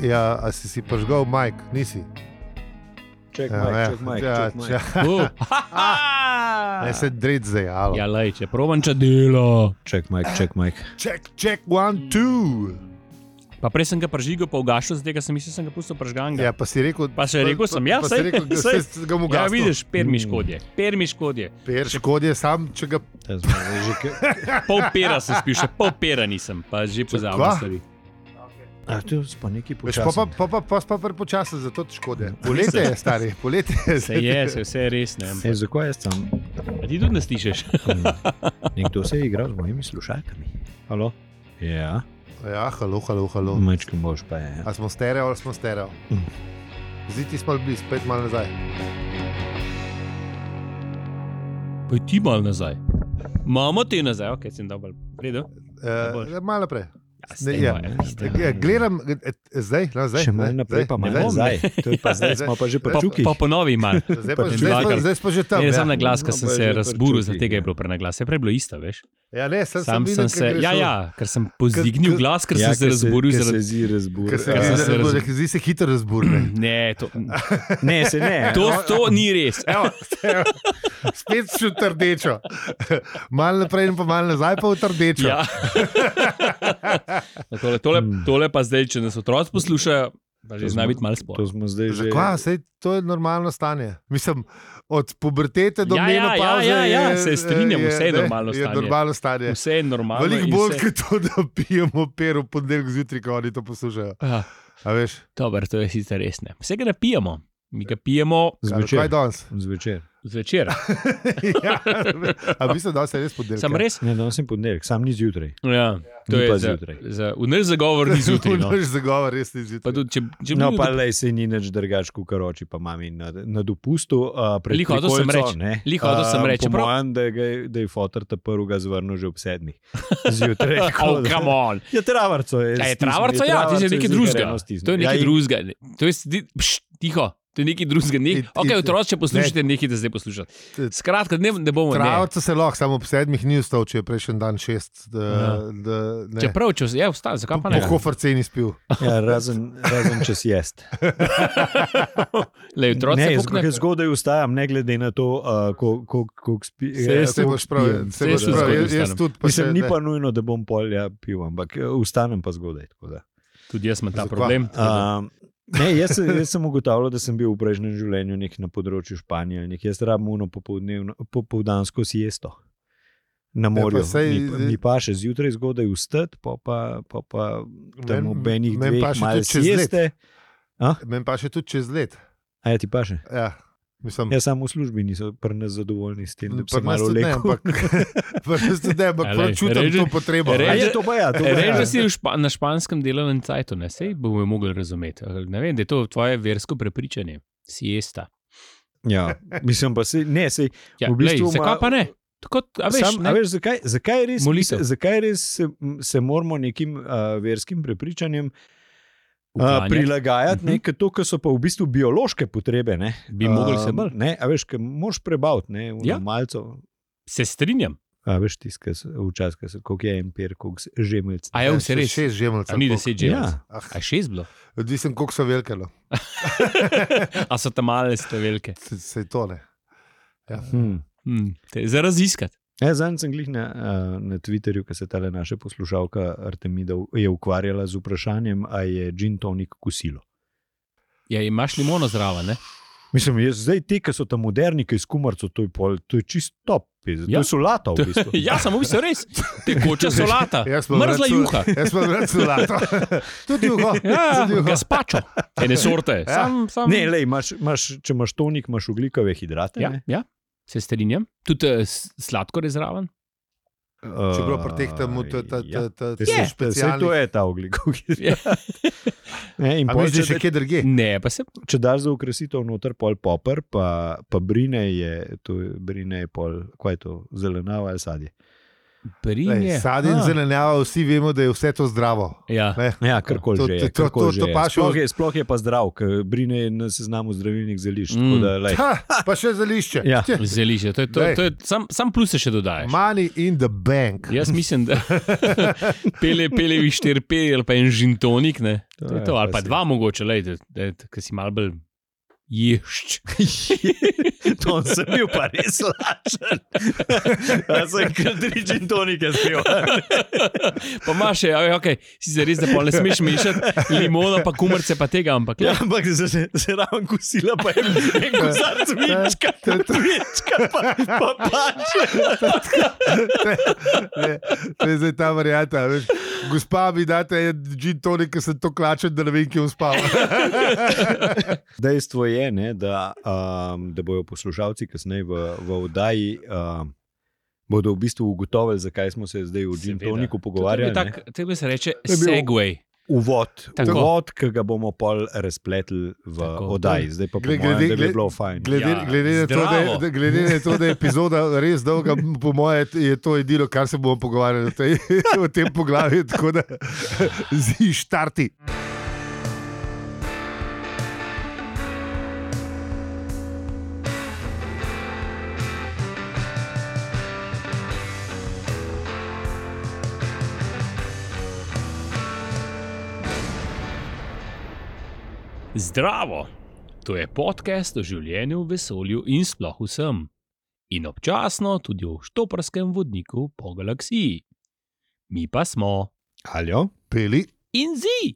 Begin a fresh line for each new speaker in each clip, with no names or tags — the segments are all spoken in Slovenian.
Ja, a si si požgal, Mike, nisi.
Ček,
Ja,
Mike,
ne.
ček, Mike,
Ja,
ček, Mike.
Uh,
Ne se dred zdaj, ali.
ja, lej, če proban če delo.
Ček, Mike, ček, Mike.
Check, check, one, two.
Pa prej sem ga pržigal, pa ugašal, zdaj ga sem mislil, sem ga pustil
Mm.
pržganga.
Ja, pa si rekel,
Pa še rekel sem, ja,
pa si
saj,
rekel, da
saj.
se ga mu
Ja,
ga
vidiš, permi
Mm.
škodje, permi škodje.
Per škodje sam, če ga
To je zdaj že kaj.
Pol pera sem spišel, pol pera nisem, pa že
Kva?
pozabil stvari.
A tu si pa neki
Veš, pa, pa,
počasi.
pa, pa, pa, pa, pa prepočasen, zato ti škode. Poletje je, stari, poletje je.
Mm. Se je, se vse je res, ne.
E, zakaj jaz tam? Hm.
A ti tudi ne slišiš?
Nekdo se je igral z mojimi slušalkami. Halo? Ja,
Ja, halo, halo, halo.
Mm.
mačkim boš pa ja. je.
A smo stereo ali smo stereo? Ziti smo bili, spet malo nazaj.
Poj ti mal nazaj. Mamo ti nazaj, ok, sem dobil. Redo? boš.
E, malo prej.
Ja,
Ne,
stej
ja.
moje.
Ja, gledam, eh, zdaj, nazaj.
Še malo naprej, pa malo nazaj. To je pa zdaj,
Zdaj.
smo pa že
Pa-
pri
Pa,
čuki.
pa ponovi mal.
Zdaj pa,
Pa
zdaj, pa,
čulakam.
zdaj pa že tam.
Ne, ne,
ja.
sam na glas, ker
No,
sem
pa
se
že
razburil,
prčuti,
zaradi tega
ja.
je bilo prenaglas. Je prej bilo isto, veš?
Ja, ne, sem,
Sam
videl,
sem
ko
se,
greš
ja,
v-
ja, ker sem pozdignil
ker-
glas, ker sem
Ja,
se razburil
ker se
zaradi.
zdi razburil.
Ker se
Ja,
zdi,
se
da
razum-
bo- ker se zdi, se hitro razburne.
Ne, to,
Ne, se ne.
to, to ni res.
Evo, evo, spet si v rdečo. Malo naprej in pa malo nazaj, pa v rdečo.
Ja. Ja, tole, tole, tole pa zdaj, če nas otroci poslušajo, pa že
Hmm. To
zna
smo-
biti malo
To
sporno.
smo zdaj že.
Zakaj? Sej, to je normalno stanje. Mislim, od pubertete do
Ja, ja,
menopauze
ja, ja, ja,
je-
se strinjam, vse je normalno
je
stanje.
Normalno stanje.
Vse je normalno.
Veliko
in
bolj
vse-
kot to, da pijemo pero ponedeljek zjutraj, ko oni to poslušajo.
Ah,
A veš,
Dobro, to je sicer res ne. Vse ga ne pijemo. Mi ga pijemo
Karol, kaj je
Zvečer.
danes?
Zvečer.
zvečer.
ja, a mislim, da se je res ponedeljek. ja.
Sam res.
Ne, danes sem ponedeljek, sam ni zjutraj.
Ja, to
Ni
je
pa
za,
zjutraj.
za, v naš zagovor ni zjutraj. No.
Naš zagovor res ni
Pa
zjutraj.
tudi, če, če bi
No,
bil
pa le se ni nič drugače, kot karoči, pa mami na, na dopustu. Uh,
Lih hotel sem reči. Lih hotel sem reči, čeprav-
Pravim, da, ga- da je fotor ta prvega zvrnil že ob sedmih zjutraj. tako
Oh,
da-
come on.
Ja, travarco je.
A je
stisnil,
travarca, ja, ti si
travarco
nekaj
iz
drugega.
Igareno stisnil.
To je
Ja,
nekaj
in-
drugega. To je sti- pš, tiho. To je nekaj drugega.
It-
Nek, ok,
it-
otroci, če poslušate, nekaj zdaj poslušate.
T-
Skratka, ne, ne bomo. Ne.
Pravno se lahko, samo ob sedmih ni vstal, če je prejšnji dan šest. Da,
Ja.
da, ne.
Čeprav, če je vstal, zakaj pa ne?
Po hoferce ni spil.
Ja, razen, razen če si jesti.
Le, otroci,
Ne,
ne,
jaz zgo- zgodaj vstajam, ne glede na to, uh, koliko spi. ja,
Se
Se
jaz
koliko
Ja, boš prav,
spijem.
se
Saj
boš
jaz tudi
prav.
zgodaj
Jaz, jaz
vstanem.
tudi, pa
Mislim,
še
ni
ne.
pa nujno, da bom pol ja, pil, ampak eh, vstanem pa zgodaj. tako da.
Tudi jaz imam ta
Zakaj?
problem. tako da-
Um, ne, jaz, se- jaz sem ugotavljal, da sem bil v prejšnjem življenju nek na področju Španije, nek jaz rabim uno popoldnevno- popoldansko siesto. Na
Ja, pa
morju.
saj-
mi, pa- mi pa še zjutraj zgodaj vstati, pa pa, pa, pa tam
Meni-
obenih
meni
dveh
pa še
malo
tudi čez let.
sieste.
Meni pa še tudi čez let.
A ja, ti pa še?
Ja, mislim,
Jaz sam v službi nisem prnes zadovoljni s tem, da bi se
pri nas
malo
tudi ne,
lepo.
ampak pri nas tudi ne, ampak
Ja,
prav
lej,
čutim
reži-
to potrebo.
reži-
Reži,
Reče to pa ja, to pa
E, Reži,
ja.
da si v špa, na španskem delovnem cajtu, ne sej bomo mogli razumeti. Ali Ne vem, da je to tvoje versko prepričanje. Siesta.
ja. Mislim pa se, ne, se,
Ja,
V
v
bistvu
bistvu lej, zakaj
ima-
pa ne? Tako, a veš,
Sam,
ne?
a veš, zakaj, zakaj res,
Molitev.
zakaj res se, se moramo nekim uh, verskim prepričanjem uh,
Uklanjati.
prilagajati, ne,
Mhm.
ker to, kar so pa v bistvu biološke potrebe. Ne,
Bi mogli
Ehm,
se bolj.
Ne, a veš, ker moš prebaviti, ne, v
Ja.
ja. malcu.
Se strinjam.
A veš, tiskaj včasih, koliko je empir, koliko se- žemljc.
A je vse res?
Ja, Šest žemljic.
A ni deset že.
Ja.
Ah,
A je šest bilo?
odvisen, koliko so velike. no.
A so tam male številke?
Se- Se to ne. Ja.
Hmm.
Hm, te- za raziskati.
Ja, Zanj sem glih na, a, na Twitterju, ki se ta naša poslušalka Artemida u- je ukvarjala z vprašanjem, ali je gin tonik kosilo.
Ja, imaš limono zraven, ne?
Mislim, jaz, zdaj te, ki so tam moderni, ki skumarco, to je, pol, to je čist top, pizda. to
Ja.
je solata v bistvu.
Ja, samo v bistvu res. Tekoča solata,
Jaz imam
mrzla
rad sol-
juha.
Jaz sem rad solato. Tudi juho.
Ja,
tudi juho.
gazpačo. Ene sorte.
Ja.
Sam, sam.
Ne, lej, imaš, imaš, če imaš tonik, imaš oglikove hidrate.
ja,
ne.
ja, se strinjam. Tudi uh, sladkor je zraven.
Čeprav pri teh tam mu to ta-
Ja.
ta- ta-
Te
ta-
se- Saj
specialni.
to je ta oglikov
Ja.
hidrat. Ne, in
A
pol,
misliš,
če,
še kje drugje?
Ne, pa se
če daš za okrasitev noter pol popr, pa, pa brine je, to je, brine je pol, kaj je to, zelenava ali sadje.
Prinje.
Lej, sadin
aha.
zelenjava, vsi vemo, da je vse to zdravo.
Ah. Ja.
Ne?
Ja, karkoli
To-
že.
to-
Je,
to-
karkoli
to-
že
to
je.
pa še-
Sploh, je, sploh je pa zdrav, ker Brine je na seznamu zdravilnih zelišč.
Mm.
Mm. Da, lej.
Ha, pa še zelišče.
Ja.
Tje,
Zelišče. To je, to,
Daj.
to je, sam, sam plus se še dodajaš.
Money in the bank.
Ja.
Jaz mislim, da pele, pelevi štirpeli ali pa en žintonik, ne. To je to, ali pa
si-
dva mogoče, lej, da, da, da ki si mal bolj ješč.
to sem bil pa res lačen. Ja, Jaz sem kadrič in tonike spil.
Pa imaš še, aj, okay, si se res, da pol ne smeš mešati limono, pa kumrce, pa tega, ampak
Ja,
ja.
ampak se, se, se ravno kusila, pa je en kozarc vička,
To je to.
vička, pa, pa pač.
Ne, To je zdaj ta varianta. Veš. Gospa mi date džin tonik, ker sem to klačen, da ne vem, kje bom spal.
Dejstvo je, ne, da, um, da bodo poslušalci kasneje v, v oddaji. Um, Bodo v bistvu ugotovili, zakaj smo se zdaj o
Seveda.
Džimtoniku
Pogovarjali.
pogovarjali. ne.
Tebe se reče
je bil-
segway.
Uvod,
Tako.
uvod ki ga bomo pol razpletli v
Tako.
oddaji. Zdaj pa
Gle-
bomo
glede-
rekli, da
glede-
je bilo fajn.
Glede,
Ja,
ja, glede, na to, da, je-
zdravo.
da, glede na to, da je epizoda res dolga, po mojem, je to edino, kar se bomo pogovarjali o, tej, o tem poglavju. Tako da zdi štarti.
Zdravo! To je podcast o življenju v vesolju in sploh vsem. In občasno tudi o štoprskem vodniku po galaksiji. Mi pa smo
Aljo?
Peli.
in zi!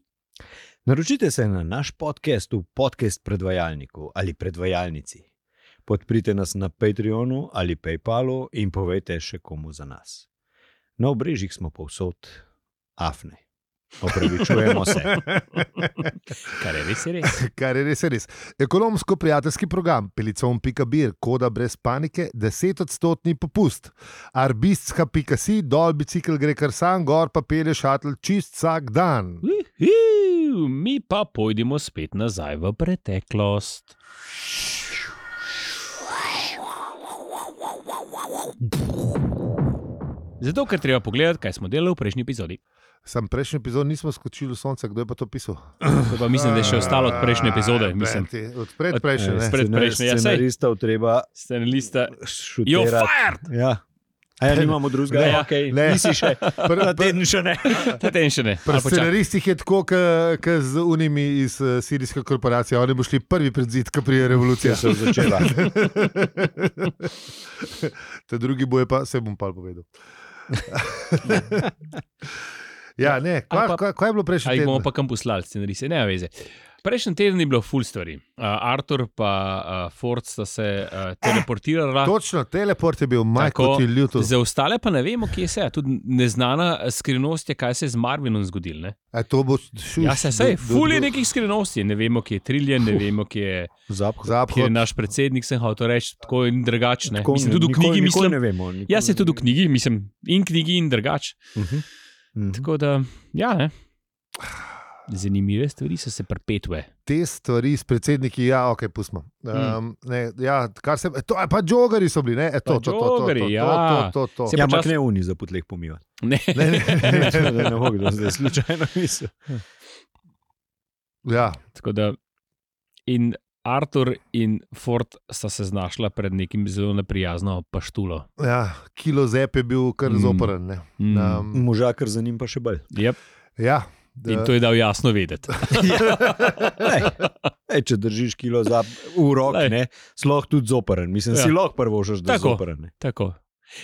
Naročite se na naš podcast v podcast predvajalniku ali predvajalnici. Podprite nas na Patreonu ali PayPalu in povejte še komu za nas. Na obrežjih smo povsod, afne. Opravičujemo se.
Kar je res je res.
Kar je res, je res. Ekonomsko-prijateljski program, pelicom.bir, koda brez panike, 10-odstotni popust. Arbistska.si, dol bicikl gre kar sam, gor pa pele šatl čist vsak dan.
Uhu, mi pa pojdimo spet nazaj v preteklost. Zato, ker treba pogledati, kaj smo delali v prejšnji epizodi.
Sam prejšnji epizod nismo skočili v sonce, kdo je pa to pisal?
To pa mislim, da je še ostalo od prejšnje epizode.
Ah,
Mislim,
Benti, Od predprejšnje.
Eh,
ne.
Pred
scenar-
prejšnjo, ja, sej.
Scenaristov treba
scenarista. Jo,
šutirati.
fired!
Ja. A ja, nimamo drugega.
Ne,
Ja, okay.
ne.
Nisi še.
Pr-
Na
pr-
teden še ne.
Ta teden še ne.
Pri
Ali počakaj.
scenaristih je tako, kot z unimi iz eh, sirijske korporacije. Oni bodo šli prvi pred zid, ko prije
Ja.
revolucija.
Če se je začela.
Ta drugi boje pa se bom pa povedal. ja, ne,
Ali
kaj,
pa-
kaj, kaj je bilo prejšnji
Ali jih bomo
teden?
pa kam poslali, scenariste, ne veze. Prejšnji teden je bilo full stvari. Uh, Artur pa uh, Ford sta se uh, teleportirala.
Točno, teleport je bil, majko
Tako,
ti ljuto.
Za ostale pa ne vemo, kje se je. Tudi neznana skrivnost je, kaj se je z Marvinom zgodil. Ne?
E, to bo šlo.
Ja, se sej, ful je nekih skrivnosti. Ne vemo, kje je Triljen, ne vemo, kje je,
Zapko.
Zapad,
kje je naš predsednik. Sem hotel reči tako in drugačne.
Tako
Mislim, tudi v
nikoli-
knjigi
nikoli
mislim.
Ne vemo. Nikoli,
Jaz se tudi v knjigi, mislim, in knjigi in drugač.
Mhm. Mhm.
Tako da, ja, ne. Zanimive stvari so se perpetuje.
te stvari s predsedniki, ja, ok, pustimo.
Mm.
Um, ne, ja, kar se, to, a pa jogari so bili, ne, e, to,
Pa
to, to, to, to,
jogerji, ja.
to, to, to, to.
Se
Ja, ampak
počasi-
ne uni za potleh pomiva.
Ne,
Ne, ne, ne, ne.
da ne bo kdo zdaj slučajno mislil.
Ja,
Tako da, in Artur in Ford sta se znašla pred nekim zelo neprijazno paštulo.
ja, kilo zep je bil kar
Mm.
zoporen. ne.
Mm.
Um,
Možakar za njim pa še bolj.
Yep.
ja,
In
da-
to Ja, je dal jasno vedeti.
Ej, ej, če držiš kilo za urok,
Lej.
sloh tudi zoperen. Mislim,
Ja.
ja. si lahko prvo že da
Tako.
zoperen. ne.
Tako.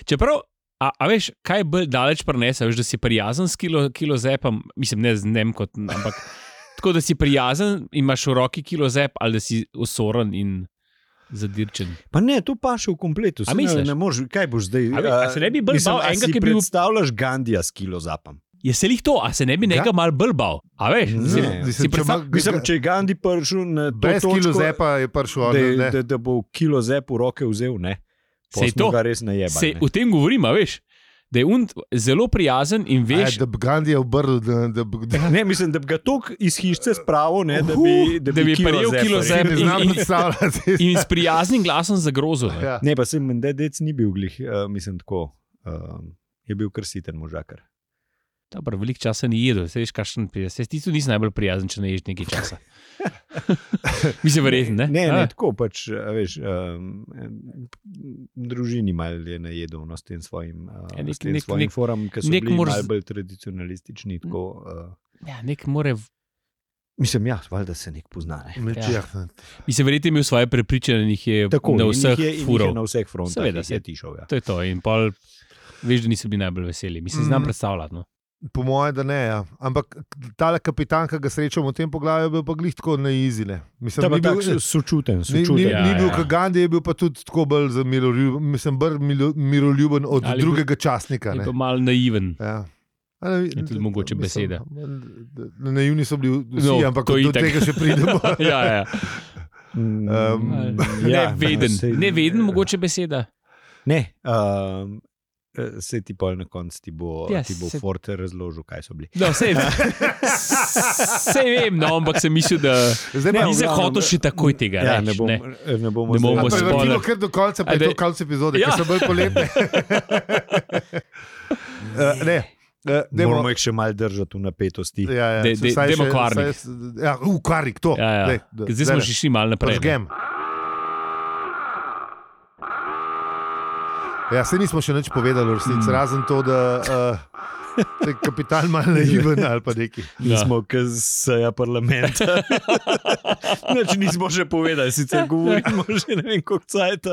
Čeprav, a, a veš, kaj bolj daleč prenese, veš, da si prijazen s kilo, kilo zepom, mislim, ne z dnem kot, ampak tako, da si prijazen, imaš v roki kilo zep ali da si osoren in zadirčen.
Pa ne, to pa še v kompletu.
A
saj
misliš?
Ne, ne moreš, kaj boš zdaj?
A vi- a se ne bi bolj bal enega,
ki
ki bi
bi
bil-
predstavljaš Gandija s kilo zapam.
Je se lih to, a se ne bi nekaj mal brbal, a veš?
Mhm.
Ne.
Si,
Mislim,
si
če
predstav-
ima-
Mislim, če je Gandhi prišel na to
Brez
točko,
kilo zepa je prišel on. ne,
da,
ne.
da, da bo kilo zep v roke vzel, ne. Pol
Sej
smo
to.
ga res najeba.
se, o tem govorim, a veš? Da je un zelo prijazen in
A
veš,
Ja, da bi Gandhi je obrnil, da, da, bi- da
Ne, mislim, da bi ga tok iz hišce spravil, ne, da bi, da bi,
da bi prijel
zepa
kilo
res.
si ne
in-
znam
in-
predstavljati.
in s prijaznim glasom zagrozil. ne.
Ja.
eh, Ne, pa sem mendedec ni bil glih, uh, mislim tako. Um, je bil kar siten možakar.
Dobro, veliko časa ni jedel, se veš, kakšen prijaz. Jaz ti tu nisem najbolj prijazen, če ne ješ nekaj časa. Mislim, verjetno ne.
Ne, ne
Eh, A,
tako pač, a veš, um, družini malo je najedel no, s tem svojim, uh,
Ja, nek-
s tem
nek-
svojim
nek-
forum, ki so
nek
bili
mora
malo
z- Mm.
bolj tradicionalistični. Tako, uh,
Ja, nek more. v-
mislim, ja, valjda se nek pozna. Ne.
Ja.
Mislim, verjetno je imel svoje prepričanje, in jih je
Tako,
na
in jih
vseh
je, in jih je
furov.
Na vseh frontah
Seveda
jih je
se-
tišel. Ja.
To je to. In pol, veš, da niso bili najbolj veseli. Mislim, znam
Mm.
predstavljati. No.
Po mojem, da ne. Ja. Ampak ta kapitan, ki ga srečamo v tem poglavju, je bil pa glih tako neizine. Mislim,
Ta
ni
bil
bil,
tak sočuten,
ni, ni,
sočuten.
Ja,
ni bil
ja.
kot Gandhi, je bil pa tudi tako bolj za miroljuben, mislim, bolj milo- miroljuben od Ali
Ali je bil-
drugega
Ja,
časnika.
Je
ne.
pa malo naiven.
Ja. A Ne, no,
tudi mogoče beseda.
Naivni so bili vsi,
No,
no, ampak
to
do
itak.
tega še pridemo.
ja, ja.
Um,
Mm,
ja, neveden,
sej-
neveden mogoče beseda.
Ne, um, se ti pol na koncu ti bo,
Ja,
yes, ti bo
saj-
se... Forte razložil, kaj so bili.
No, sej,
Ja.
sej vem, no, ampak sem mislil, da
Zdaj
Ne,
pa
v
nisem
glavnem-
hotel še takoj tega.
Ja,
reči,
ne, bom,
ne.
ne. ne bomo
Ne
zdaj-
bomo
A
bomo
pa
spoiler.
vrtimo kar do konca, pa
A
je to
daj.
konc epizode, ja.
Ja.
ki so bolj poletne. uh, ne, uh, demo,
Moramo jih še malo držati v napetosti.
ja, ja,
De- de-
vsaj
demo
še-
kvarnik.
vsaj s- Ja, v kvarnik, to.
Ja, ja.
Daj,
Ker
da-
Zdaj smo
zdajle.
že šli malo naprej.
Pač
ne.
Pržgem. Ja, se nismo še nič povedali, v resnici,
Mm.
razen to, da uh, je kapital malo naiven ali pa neki.
Mi
Ja.
smo, ki seja parlamenta. Noč nismo še povedali, sicer govorimo že ne vem, koliko cajt.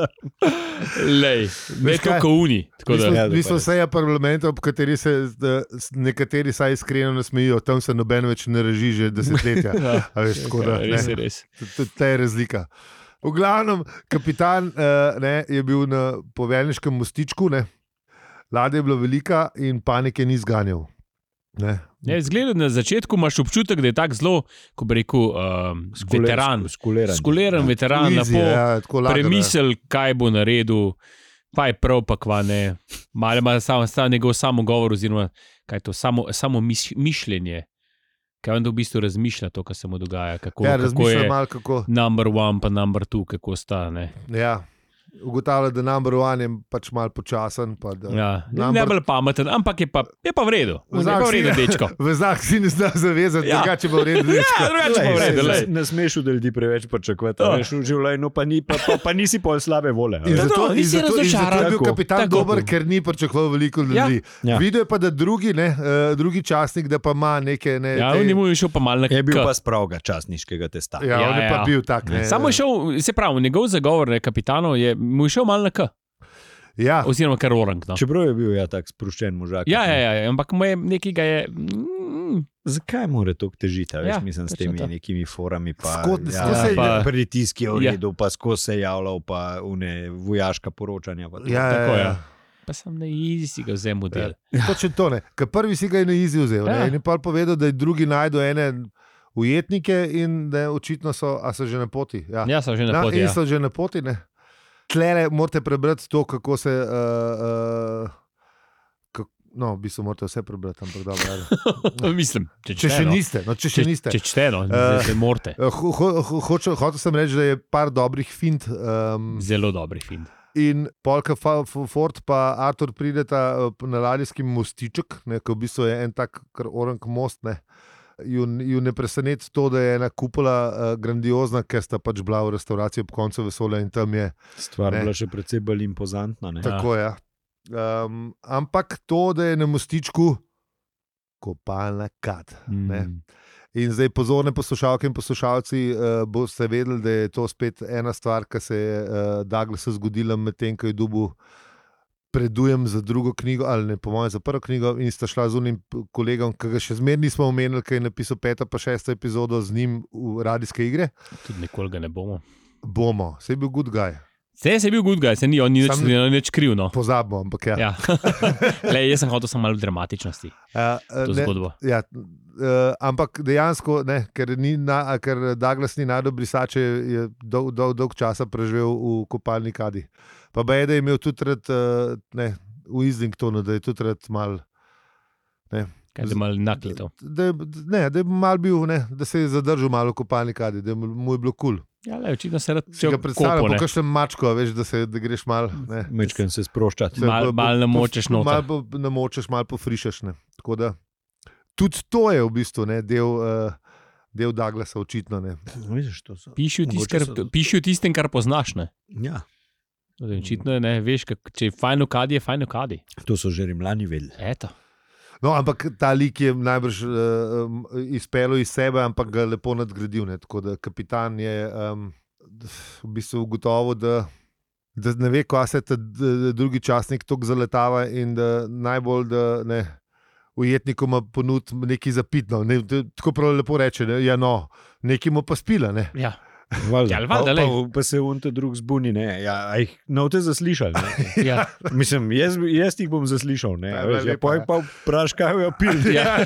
Lej, Ne
Veš
to
kaj?
kot uni. tako
Mi
da-
smo-
Ja,
Mi smo
dobro.
seja parlamenta, ob kateri se da, s- nekateri saj iskreno nasmejijo, tam se noben več ne reži že desetletja.
Ja,
A Veš, tako da,
Res
ne,
je, res.
tudi ta je razlika. V glavnem, kapitan eh, ne, je bil na poveljniškem mostičku, ne. ladja je bila velika in panike ni zganjal. Ne.
Ne, zgleda, na začetku imaš občutek, da je tako zelo, ko bi rekel, um, veteran,
skuleran.
skuleran veteran,
Easy,
lepo
ja, tako lagano, ja.
premislil, kaj bo naredil, pa je prav, pa kva ne. Malo ima samo sam, njegov samo govor, oziroma kaj je to, samo, samo mis, mišljenje. Kaj on da v bistvu razmišlja, to, kar se mu dogaja, kako,
Ja,
kako
razmišljam
je
malo kako.
number one, pa number two, kako sta. Ne,
Ja. Ugotavlja, da number one je pač malo počasen. Pa, da,
ja,
Number-
number... ne bolj pameten, ampak je pa, je pa v redu, je pa v
Vzak si-
redu, dečko.
V znak si ne zna zavezati,
Ja.
ja. drugače pa v redu. dečko.
Ja, drugače pa v redu, lej.
Ne smeš od ljudi preveč pričakovati,
Ja.
da veš v življenju, pa, ni, pa, pa, pa nisi pol slabe vole.
In
Ja,
zato,
no,
in
nisi
zato, in zato je
razočaran.
bil
Tako.
kapitan
Tako.
tako. dober, ker ni pričakoval veliko
Ja.
ljudi. Ja.
Ja.
Videl je pa, da drugi, ne, eh, drugi časnik, da pa ima neke. Ne,
Ja,
te-
on je mu je šel pa malo na
Je bil
K.
pa spravga časniškega testa.
ja,
Ja,
on je pa
ja.
bil tak. Ne,
Samo je šel, se pravi, njegov zagovor, ne, kapitanov, je mu je šel malo na K,
Ja,
oziroma kar orang. No.
Čeprav je bil ja, tak sproščen možak.
Ja, ja, ja, ja, ampak mu je nekaj ga je. Mm,
Zakaj mora to težiti, a veš,
Ja,
ja, mislim, s
točno
temi
to.
to. nekimi forami? Pa,
Skod-
ja,
skozi se je-
pa, pritisk je v
Ja.
redu, ja. pa skozi se je javljal, pa une vojaška poročanja. Pa to.
ja,
tako,
ja,
ja.
ja.
pa sem na izi si ga vzel del.
Točno to ne. Ker prvi si ga je na izi vzel
Ja.
ja. in je pa povedal, da je drugi najdel ene ujetnike in da je očitno so, a so že na poti. Ja.
Ja, so že na
Na,
poti.
in
Ja.
so že na poti. Ne? Tlele morate prebrati to, kako se. Uh, uh, kako, no, v bistvu morate vse prebrati, ampak dobro. ajde.
Mislim, če,
Če še
čteno.
niste, no, če še niste.
Če čteno, uh, ne morete.
Eh, ho- ho- ho- hočem- Hotel sem reči, da je par dobrih fint. Um,
Zelo dobri film.
in Polka Ford in Artur prideta eh, na ladijski mostiček, ne, ki v bistvu je en tak orang most. Ne. Ju, ju ne preseneča to, da je ena kupola uh, grandiozna, ker sta pač bila v restavraciji ob koncu vesolja in tam je
Stvar
Ne.
je bila še precej bolj impozantna. Ne?
tako. Ja. Um, ampak to, da je na mostičku kopalna kad. Ne.
Mm.
In zdaj pozorne poslušalke in poslušalci uh, boste vedeli, da je to spet ena stvar, ki se je uh, Douglasu zgodila medtem, ko je dubu. Predujem za drugo knjigo, ali ne, po mojem, za prvo knjigo, in sta šla z unim p- kolegom, ki ga še zmeraj nismo omenili, ki je napisal peto pa šesto epizodo z njim v radijske igre.
Tudi nikoli ga ne bomo.
Bomo, se je bil good guy,
Se je bil good guy, se ni, on ni nič,
Sam-
ni on nič kriv. No.
pozabimo, ampak ja.
Ja. Lej, jaz sem hotel samo malo dramatičnosti,
ja.
to
Uh, ne,
zgodbo.
Ja, uh, ampak dejansko, ne, ker, ni na, a ker Douglas ni najdel brisače, je dol, dol, dolg časa preživel v kopalni kadi. Pa je, da je eh, imel tudi rad, uh, ne, v Islingtonu, da je tudi rad mal.
Kaj je malo naklito.
Da, je- ne, da, je mal bil, ne, da se je zadržal malo v kopalni kadi, da mu je bilo kul. Cool.
Ja, le, očitno se rad
Če ga predstavljaš,
kopone.
kot še mačko, a veš, da, se, da greš mal. Ne.
Mečkam se sproščati.
se
Mal-
po- po-
mal namočeš
po-
noter.
Mal po- namočeš, mal pofrišeš. Ne. Tako da tudi to je v bistvu ne, del, uh, del Douglasa, očitno. Ne.
No, Vidiš, to so.
Piši v tist,
Mogoče so-
kar- piši v tistem, kar poznaš. Ne?
Ja,
Zdaj, Očitno je, ne, veš, kak, če je fajn ukadi, je fajn ukadi.
to so že rimljani vedeli.
Eto.
No, ampak ta lik je najbrž uh, izpeljal iz sebe, ampak ga lepo nadgradil. Ne. Tako da kapitan je um, v bistvu ugotovil, da. Da ne ve, kaj se ta d- drugi časnik tako zaletava, in da najbolj, da ne, ujetnikom ponudi nekaj zapitno. no. Ne, to je tako prav lepo reče, da ja, no, nekaj mu pa spila. Ne.
Ja.
Valjda.
Ja, valjda,
pa,
lej.
pa, pa se on te drug zbuni, ne. Ja, a jih na te zaslišali. ne?
Ja.
Mislim, jaz, jaz jih bom zaslišal, ne.
Ja,
a Veš,
bila
ja,
lepa,
poj
ja.
pa vpraš, kaj bojo pili.
Ja.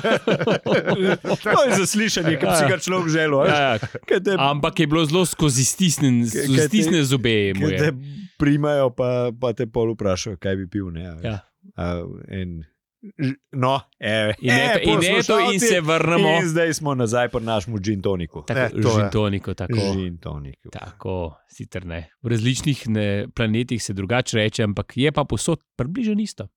To je zaslišanje, ki bi si ga človek želel. a veš.
Ja, ja.
Kaj te,
Ampak je bilo zelo skozi stisnen-
Kaj-
skozi
kaj ti-
stisnjene zobe. mu
kaj
je. ja.
te primajo, pa, pa te pol vprašajo, kaj bi pil. Ne, a veš.
Ja.
A, in, ž- no, e,
In eto,
e,
in, eto, in se vrnemo.
In zdaj smo nazaj pri našem džintoniku.
Eh,
Tako,
to je.
žintoniko, tako.
Džintoniku.
Tako, sicer ne. V različnih ne, planetih se drugače reče, ampak je pa posod približno isto.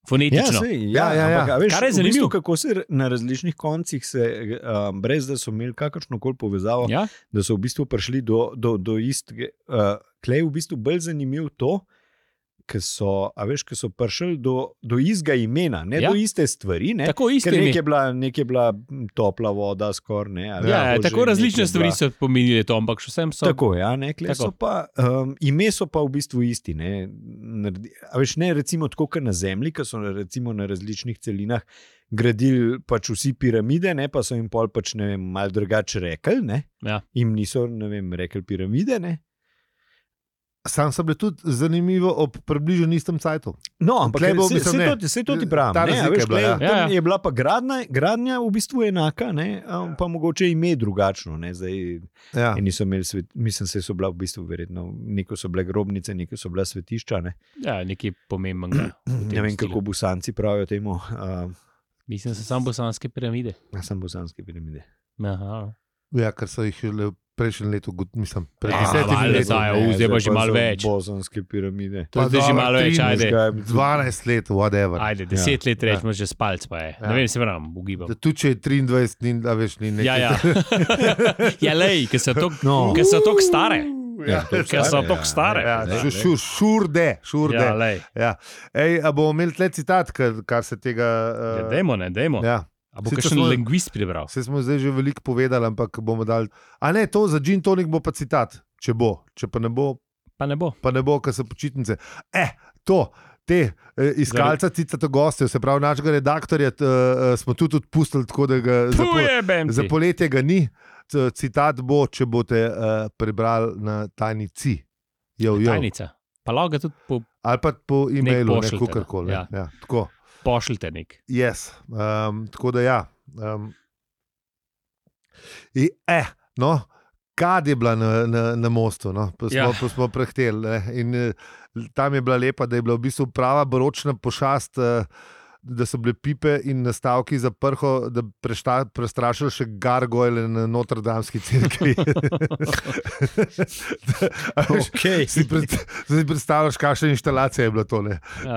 Ja,
Fonetično.
sej,
Ja, ja,
ja, ja,
ja.
ampak, a veš,
Kar je
v
zanimivo.
bistvu, kako se r- na različnih koncih, se, um, brez da so imeli kakršno koli povezavo, ja.
ja?
da so v bistvu prišli do, do, do istega. Uh, Klej je v bistvu bolj zanimiv to, ker so, a veš, ker so prišli do, do istega imena, ne
Ja.
ja. do iste stvari. Ne?
Tako isto
Ker
ime.
nekaj je, bila, nek je bila m, topla voda, skoraj ne. a veš,
Ja,
to že
tako različne
nekaj
stvari
bila-
so pomenile to, ampak še vsem so.
Tako, ja, ne, tako.
Tako.
So pa, um, ime so pa v bistvu isti. Ne, Naredi- a veš, ne recimo tako, kot na Zemlji, ki so na- recimo na različnih celinah gradili pač vsi piramide, ne, pa so jim pol pač ne vem, malo drugače rekli. Ne,
Ja.
Im niso ne vem, rekli piramide. Ne.
Sam sem bil tudi zanimivo ob približno istem cajtu.
No, ampak
Tule bo,
se,
mislim,
se,
ne.
to, ti- se to ti
Ta
pravi. Ne, a
razlika
veš,
je bila,
glej,
ja.
tam
Ja, ja.
Je bila pa gradna, gradnja v bistvu enaka, ne, a pa mogoče ime drugačno. Ne, zdaj,
Ja.
Eni so imeli, svet, mislim, da so bila v bistvu verjetno, neko so bile grobnice, neko so bila svetišča. Ne,
Ja, nekaj pomembnega. v tem
ne vem,
stilu.
kako bosanci pravijo temu, uh,
Mislim, da so samo bosanske piramide.
sem bosanske piramide.
Aha.
ja, ker so jih le prejšnji leto, gut- mislim, pred
Ja,
desetimi
valjda
leti.
so, ja. zdaj pa že malo več.
Bosanske piramide.
To je
Pa
zdaj že
dobro,
malo več,
13,
ajde.
Kaj,
12 let, whatever.
Ajde, deset let rečemo, že spalc pa je. Ne
Ja.
vem, se pravim, ugibam.
Da tudi če je 23, ni, da veš, ni nekaj.
Ja, ja. ja lej, ker so tako
No.
no. stare.
Ja,
to
Ker so tako stare.
ja,
ne,
šu-
ne.
šu- Šurde, šurde. Ja,
Ja, lej.
Ej, a bomo imeli tle citat, kar, kar se tega.
Ja,
eh,
dajmo, ne, dajmo.
ja.
A bo
Sicer
kakšen
smo-
lingvist prebral?
Vse smo zdaj že veliko povedali, ampak bomo dali. A ne, to za Džin Tonik bo pa citat, če bo, če pa ne bo,
Pa ne bo.
pa ne bo, ker so počitnice. Eh, to, te eh, iskalca, citato goste, se pravi, našega redaktorja t, eh, smo tudi odpustili, tako da ga za, pol,
Pojebem.
za
ti.
poletje ga ni. C- Citat bo, če boste eh, prebrali na tajnici. Jo, jo.
Tajnica. Pa lahko ga tudi po,
Ali pa po e-mailu,
pošljite,
kako koli.
ja.
Ja. Ja, tako.
pošljite nek.
Yes. Um, tako da ja. Um, I, eh, no, kad je bila na, na, na mostu, no, pa smo,
Ja.
ja. pa smo prehteli. ne, In, eh, tam je bila lepa, da je bila v bistvu prava baročna pošast. Eh, Da so bile pipe in nastavki za prho, da prešta, prestrašili še gargoyle na Notre-Damski cerkvi. Da- a veš,
Okay.
si, pred, si predstavljaš, kakšna instalacija je bila to? Ne?
Ja.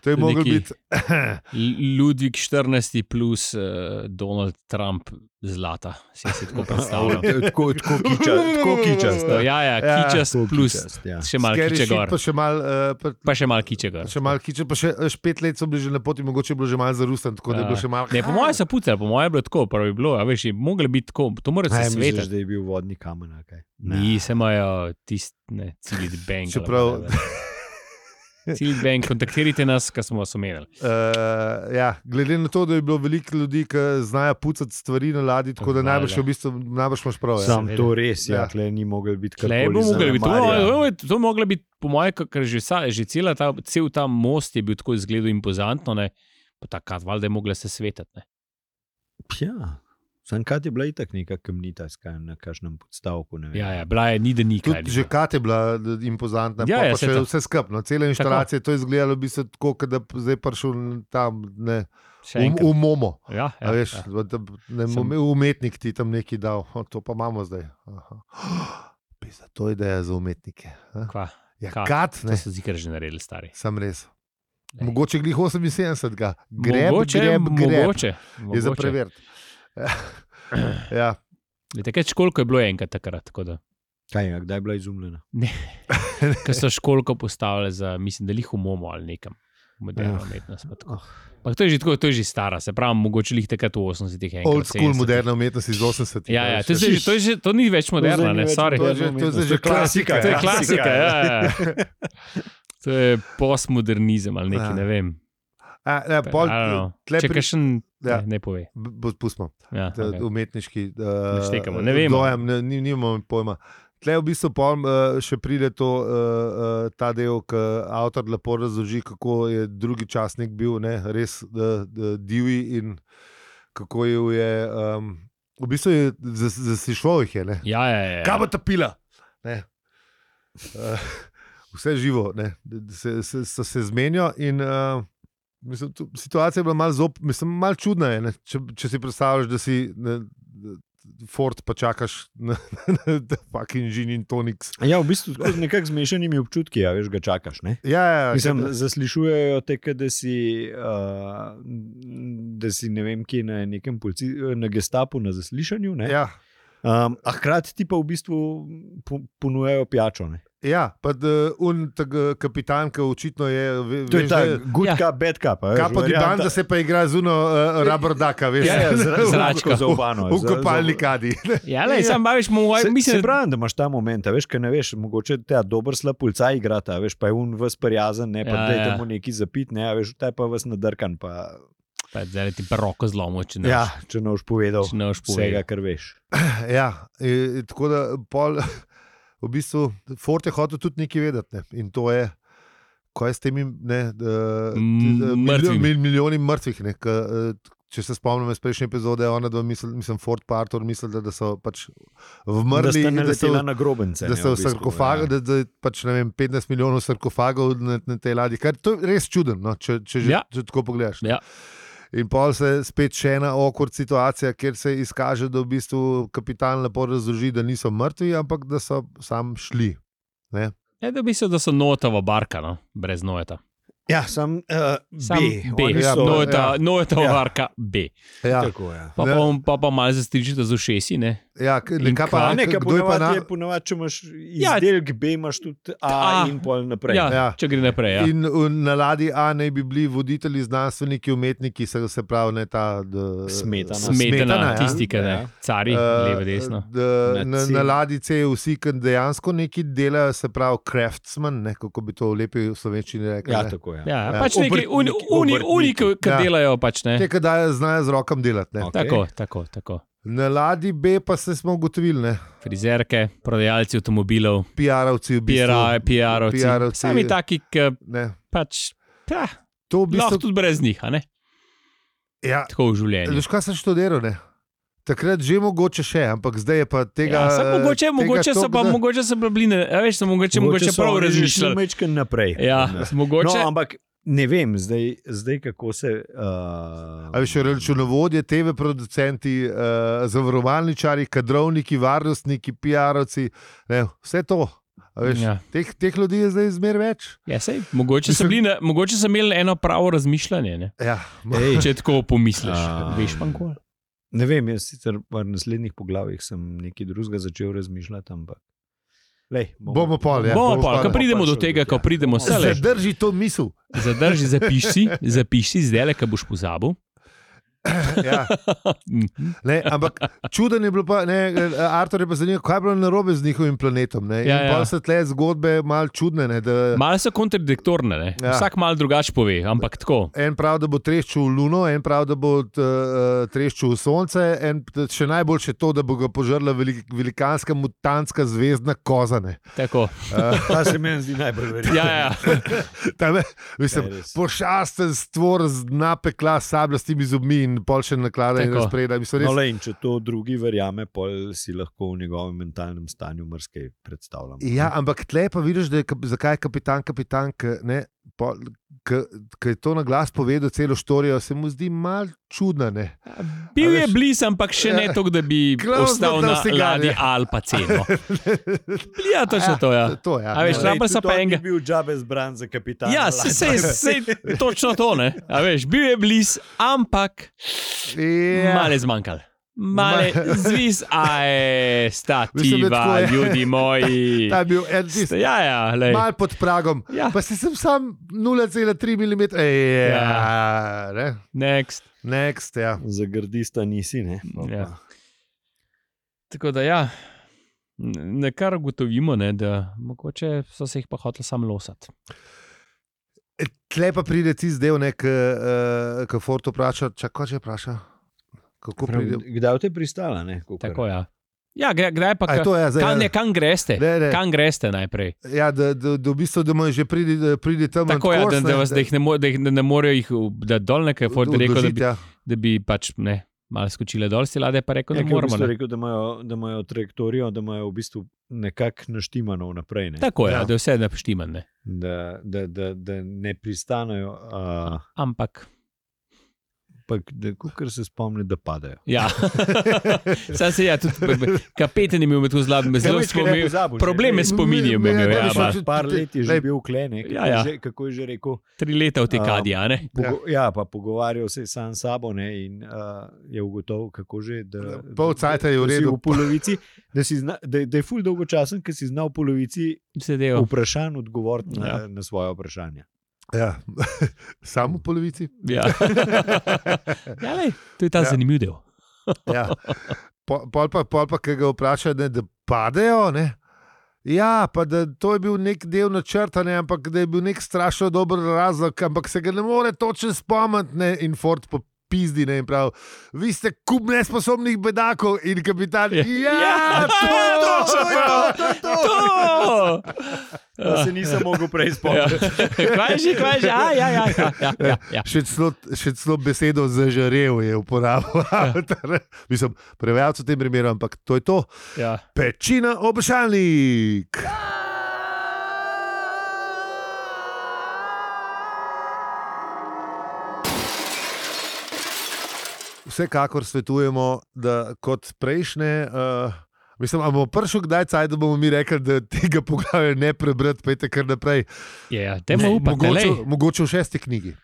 To je moglo
Neki-
biti
L- Ludvik 14 plus uh, Donald Trump zlata. Si si tako predstavljam.
Tako, tako kičast. Tako kičast.
No, ja, ja,
Ja,
kičast
Tako
plus.
kičast, ja.
Še malo
Scary
kiče
shit,
gor.
Pa še malo uh,
Pa ja. še malo kiče gor.
Še malo kiče, pa še, še pet let so bili že na poti, mogoče je bilo že malo zarusen, tako da je bilo še malo.
Ja. Ne, po mojem so pucali, po mojem je bilo tako, pravi bilo, a veš, je moglo biti tako, to mora
Aj,
se
misliš,
svetiti.
da je bil vodni kamen. ali Kaj?
Ni, se imajo tisti, ne, cilit bank.
Čeprav-
Cilit bank, kontaktirajte nas, kar smo vas omenili.
Uh, ja, glede na to, da je bilo veliko ljudi, ki znajo pucati stvari na ladji, tako da
Valjda.
najbrž, je v bistvu, najbrž imaš prav. Ja.
Sam
seveda.
to res, ja,
Ja.
ja. ni mogel biti
Tle je bilo
karkoli
moglo biti, to,
zanemarjeno.
to, to, to moglo biti, po mojem, ker že, vsa, že cela ta, cel ta most je bil tako izgledal impozantno, ne, pa takrat valjda je mogla se svetiti. ne.
Ja, Sam kaj je bila itak neka kamnita ska- na kažnem podstavku. ne vem.
Ja, ja, bila je, ni da ni kaj.
Tudi že kat je bila eh, impozantna,
Ja,
ja,
ja,
pa
saj
še
to.
vse skupno. Cela instalacija to je izgledalo v bistvu tako, kot da bi zdaj prišel tam ne, v,
Še enkrat.
v Momo.
Ja,
Ja,
ja,
veš,
ja.
ja. Da, b- ne, Sem...
Sem-
Umetnik ti tam nekaj dal, o, to pa imamo zdaj. Aha. Pizda, to je ideja za umetnike. a?
Kva,
Ja,
Ka-
kat,
to
ne,
so zikar že naredili, stari.
sem res.
Ej.
Mogoče glih 78, ga. greb,
mogoče,
greb, greb.
mogoče.
je za
mogoče.
preveriti. ja,
Veste, kaj školko je bilo enkrat takrat, tako da.
Kaj, je, kdaj je bila izumljena?
Ker so školko postavili za, mislim, da jih umomo ali nekam. Moderna
Ja.
umetnost. pa tako.
Oh.
Ampak to je že tako, to je že stara, se pravi, mogoče jih takrat v 80-ih enkrat.
old school
70-ih.
moderna umetnost iz 80-ih.
Ja, ja,
veš,
to, je, zdaj že- to, je, že- to ni več moderna,
zdaj ni
ne,
več
sorry.
To je že, to je zdaj že klasika.
To je
ja.
klasika. Ja, ja. To je postmodernizem ali nekaj,
Ja.
ne vem.
A, ja, pol,
I don't know.
tle
Če
pri-
kakšen,
Ja.
ne, ne pove.
B- bo- Pustimo,
Ja,
ta
okay.
umetniški.
Ne štekamo, ne
vem.
vemo.
Dojem, ne, ni- nimamo pojma. Tle v bistvu pol, eh, še pride to, eh, eh, ta del, ki avtor lepo razloži, kako je drugi časnik bil ne, res eh, eh, divji in kako jo je. Um, v bistvu je zas- zasišlo jih je. Ne.
Ja, ja, ja.
Kaj bo ta pila? Ne. Eh, Vse živo, ne, da se, se, so se zmenijo. In, uh, mislim, tu, situacija je bila malo, zop, mislim, malo čudna. Je, ne, če, če si predstavljaš, da si ne, Ford, pa čakaš na, na, na, na fucking gin in toniks.
Ja, v bistvu tako z nekako zmešanimi občutki, ja, veš, ga čakaš. Ne?
Ja, ja,
Mislim,
ja,
zaslišujejo te, ke da si, uh, da si ne vem, kje na nekem polci, na gestapu na zaslišanju. Ne?
ja,
Um, a hkrati ti pa v bistvu po- ponujajo pijačo. Ne?
ja, pa da un tak, eh, kapitan, ki očitno je. Ve,
To je
veš,
ta
da-
good
Ja.
ja. cup, bad cup. a veš,
Kapo di
varianta.
banda se pa igra z uno uh, rabrdaka, veš?
Ja, ja,
V- v-
zračko
zračka.
za obano.
V kopalni kadi.
Ja, lej, sam baviš mu,
Se, mislim,
mislim,
se pravim, da imaš ta moment, a veš, kaj ne veš, mogoče te dober slab pulca igrata, veš, pa je un vas prijazen, ne, pa
Ja,
ja, dajte
ja.
ja. mu neki zapit, ne, a veš, ta je pa vas nadrkan, pa
Pa Zdaj ti pa roko zlomil, če ne.
ja, če ne boš povedal
boš- če ne boš
vsega,
povedal.
kar veš.
Ja, e, tako da pol, v bistvu Fort je hotel tudi nekaj vedeti. Ne? In to je, kaj je s temi ne, da- ti-
Mm,
da-
mrtvimi.
mil, milijoni mrtvih. Ne, ka, če se spomnim iz prejšnje epizode, ona dva misli, mislim, Fort pa Arthur misli, da, da so pač
da
vmrli.
ste
in da so-
naletela na grobence.
Da
ne,
so v
bistvu,
sarkofagu,
ja.
da, da je pač, ne vem, 15 milijonov sarkofagov na, na tej ladji, kar to je res čudno, no, če, če, že, ja.
Ja.
če tako pogledaš.
Ja.
In pol se spet še ena okur situacija, kjer se izkaže, da v bistvu kapitan lepo razloži, da niso mrtvi, ampak da so sam šli.
Ja, da bi se, da so notova barka, no, brez nojeta.
Ja, sam, uh,
Sam
B,
B,
Oni
Ja,
so,
no,
nojeta,
ja.
nojeta
Ja.
barka B.
Ja,
Tako, ja.
Pa,
Ne.
pa, pa, pa malo zastričite z ušesi, ne.
ja, k- ne,
In
kaj
Pa,
pa,
ne,
k-
kaj
kdo je pa na.
ponavadi je, ponavadi, če imaš izdelek B, imaš tudi A,
Ja. A.
in pol naprej.
Ja,
Ja.
ja. Če gre naprej. Ja.
In v- na ladji A naj bi bili voditelji, znanstveniki, umetniki, se, se pravi, ne ta. d-
Smetana.
Smetana,
ja.
tisti, ki ne,
Ja.
cari,
Eh,
levo, desno.
da
Na
Na,
cilj.
na ladjici je vsi, ki dejansko nekaj delajo, se pravi, craftsman, ne, kako bi to v lepi slovenščini rekli.
ja
ne.
tako je.
Ja,
Ja.
ja. pač neki uni,
Obrtniki,
uni, uni ki ki
Ja.
delajo, pač ne.
Te, ki dajo, znajo z rokom delati. Ne.
Ok.
Tako, tako, tako.
Na ladji B pa se smo ugotovili, ne,
Frizerke, prodajalci avtomobilov,
PR-ovci v bistvu.
PR-ovci, PR
PR-ovci.
sami taki, ki
Ne.
pač. Ja,
To v
lahko
bistvu.
tudi brez njih, a ne?
Ja,
Tako v življenju.
veš, kaj sem študiral, ne? Takrat že mogoče še, ampak zdaj je pa tega.
ja, samo
eh,
mogoče,
tega
mogoče so
toliko,
pa,
da-
mogoče so pa bline, a veš, so mogoče, mogoče
so
prav
oni že šli
razmišljali.
Majčken naprej.
Ja,
Ne.
mogoče.
No, ampak ne vem, zdaj, zdaj kako se. Uh,
A veš, računovodje, TV producenti, uh, zavarovalničari, kadrovniki, varnostniki, PR-ovci, ne, vse to. A Veš, ja.
Ja.
teh, teh ljudi je zdaj zmer več.
Ja, sej, mogoče, so
Mislim-
bili, na- mogoče so imeli eno pravo razmišljanje. Ne?
Ja, ma-
Ej,
Če tako pomisliš,
Am.
veš, pa nikoli.
ne vem, jaz sicer v naslednjih poglavjih sem nekaj drugega začel razmišljati, ampak. Lej,
Bomo pol, ja.
Bomo
bomo
pa, ko
pa-
pridemo do tega, ko pridemo vse le.
Zadrži to misel.
Zadrži, zapiši si, zapiši si zdaj, ki boš pozabil.
Ja. Ne, ampak čuden je bilo, pa, ne, Artur je pa zanimivo, kaj je bilo narobe z njihovim planetom. Ne? Ja,
Ja, ja.
ja. So tle zgodbe malo čudne. Ne, da,
Malo so kontradiktorne, ne?
Ja.
vsak malo drugače pove, ampak tako.
En pravi, da bo treščil v luno, en pravi, da bo t, eh, treščil v sonce, en t- še najboljše to, da bo ga požrla velik, velikanska mutantska zvezdna Eh, kozane.
tako.
Ta se meni zdi najbolj verjetno.
Ja, ja.
Tam, je, mislim,
Ja, res.
pošasten stvor z dna pekla, sablastimi zobmi in in pol še naklada in
Tako.
razpreda. Mislim,
No,
res,
le, in če to drugi verjame, pol si lahko v njegovem mentalnem stanju marsikaj predstavljamo.
Ja, ampak tle pa vidiš, da je, kap- zakaj je kapitan, kapitan, ki je to na glas povedal, celo štorijo, se mu zdi mal čudna. Ne?
Bil
A
je
veš-
blizu, ampak še
Ja.
ne tako, da bi
Klaus
ostal
dodal
na
sigare.
ladji Alpa ceno. Ja, točno to je. Ja.
To, ja.
A
Ja.
veš, na- rabili so pa enega-
Je bil Džabe zbran za kapitana.
Ja,
ladje.
sej, sej, točno to ne. A veš, bil je blizu, ampak
Ja.
yeah. male zmanjkal. Male
Ma-
zvis, aj,
Mislim, da tako
stativa,
je.
ljudi moji.
Ta je bil en
Sta-
tisti.
Ja, ja, lej.
Mal pod pragom,
Ja.
pa si sem sam 0,3 mm. Ej, ja, ne,
Next.
next, ja.
Za gardista nisi, ne?
No.
Pa-
Ja. Tako da, ja, nekaj ugotovimo, ne, da mogoče so se jih pa hoteli sam losati.
Tle pa pride tisti del, ki uh, Forto vpraša, čakaj, če vpraša. Kako
Prav,
pride?
Kdaj te je pristala? Ne, kakor-
Tako, ja. Ja, gre- kdaj pa
A je
ka-
to, ja, zdaj,
Kam,
ja.
ne, kam greste?
Ne, ne.
Kam greste najprej?
Ja, da, da, da v bistvu, da mu je že pridi, da pridi tam
Tako je, da, da, vas, da, jih ne mo- da jih ne- ne morejo jih v- da dol nekaj, Ford je rekel, da bi,
Ja.
da bi pač ne, malo skočile dol, si lade pa rekel,
Ja,
da
ker v
moramo.
bistvu je
Ne.
rekel, da imajo, da imajo trajektorijo, da imajo v bistvu nekako naštimano vnaprej. Ne?
Tako je,
Ja.
ja. da je vse napštimane.
Da, da, da, da ne pristanejo, a, ampak
Ampak,
da kar se spomni, da padajo.
ja. Sam se ja, tudi b- b- kapetan je imel med to zlabo, zelo spomin. Probleme s spominjem
Mi- mi-
imel,
mi-
ja,
mi-
ma,
mi-
Par let je že
Lej.
bil klene, kako,
Ja,
je
ja.
že- kako je že rekel.
tri leta v tekadi,
Um,
a ne?
Pogo, ja. ja, pa pogovarjal se je sam s sabo ne, in uh, je ugotovil, kako že. Da,
Pol cajta je v
da si
redu.
V polovici, da, si zna, da, da je ful dolgočasen, ker si znal v polovici
Sedel.
vprašanj odgovoriti na, ja.
Ja.
na svoje vprašanja.
Ja. Samo v polovici.
Ja. ja, lej, to je ta
Ja.
ja. zanimiv del.
Ja. Po- Pol pa, pol pa ki ga vpraša, ne, da padejo. Ne. Ja, pa da to je bil nek del načrta, ne, ampak da je bil nek strašno dober razlog, ampak se ga ne more točno spomniti. Ne, in Ford po pizdi ne in prav. Vi ste kup nesposobnih bedakov in kapitan. Ja,
Ja.
ja to je to,
točno
to, je to, to, je to.
To!
To se nisem mogel prej
Ja.
spomniti.
Kvaj že, kvaj že, a ja, ja, ja. ja, ja, ja.
Še celo, še celo besedo zažarev je uporabil. avtor. Mislim, prevajalec v tem primeru, ampak to je to.
ja.
Pečina obešalnik. Vsekakor svetujemo, da kot prejšnje. Uh, Mislim, da bomo prišli kdaj, caj, da bomo mi rekli, da tega poglavja ne prebrati, pojte kar naprej.
Ja, ja, dajmo upati, da
mogoče,
je
mogoče v šesti knjigi.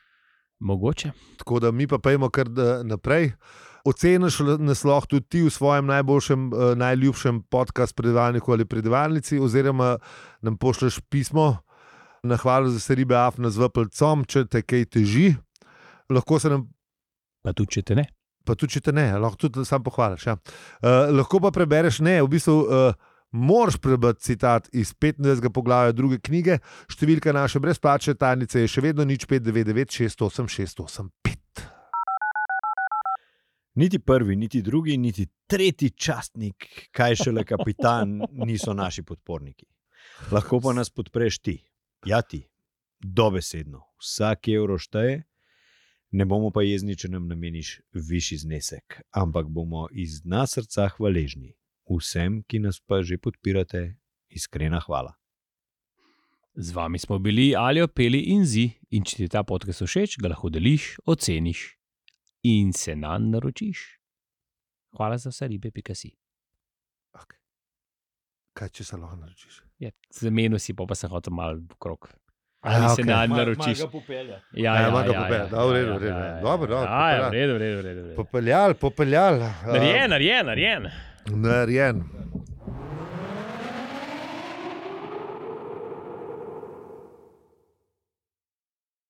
mogoče.
Tako da mi pa pojmo kar da, naprej. Oceniš l- nas lahko tudi ti v svojem najboljšem, eh, najljubšem podkastu, predvalniku ali predvalnici, oziroma nam pošleš pismo na hvala za vse ribe, afna z vplcom, če te kaj teži. Lahko se nam
Pa tudi, če te ne.
pa tudi če te ne, lahko tudi sam pohvališ. Ja. Uh, lahko pa prebereš, ne, v bistvu uh, moraš prebrati citat iz 15. poglavja druge knjige, številka naše brezplačne tajnice je še vedno nič 599 68 685.
Niti prvi, niti drugi, niti tretji častnik, kaj šele kapitan, niso naši podporniki. Lahko pa nas podpreš ti, ja ti, dobesedno. Vsak evro šteje, ne bomo pa jezni, če nam nameniš višji znesek, ampak bomo iz dna srca hvaležni vsem, ki nas pa že podpirate. Iskrena hvala.
Z vami smo bili ali opeli in zi. In če ti je ta podcast všeč, ga lahko deliš, oceniš in se nam naročiš. Hvala za vse ribe, pika si.
Okay. Kaj če se lahko naročiš?
Ja, Zamenil si pa, pa sem hotel malo krok.
A,
Ali se
okej.
nam naročiš? Ja,
Ja,
ja,
malo
ja,
ga
ja,
popelje.
ja,
Dobro, v redu,
ja,
v redu,
ja,
v redu.
ja,
Dobro, dobro,
ja, ja,
popelje.
v redu, v redu, v redu, v redu.
Popeljal, popeljal.
Narejen, narejen, narejen.
Narejen.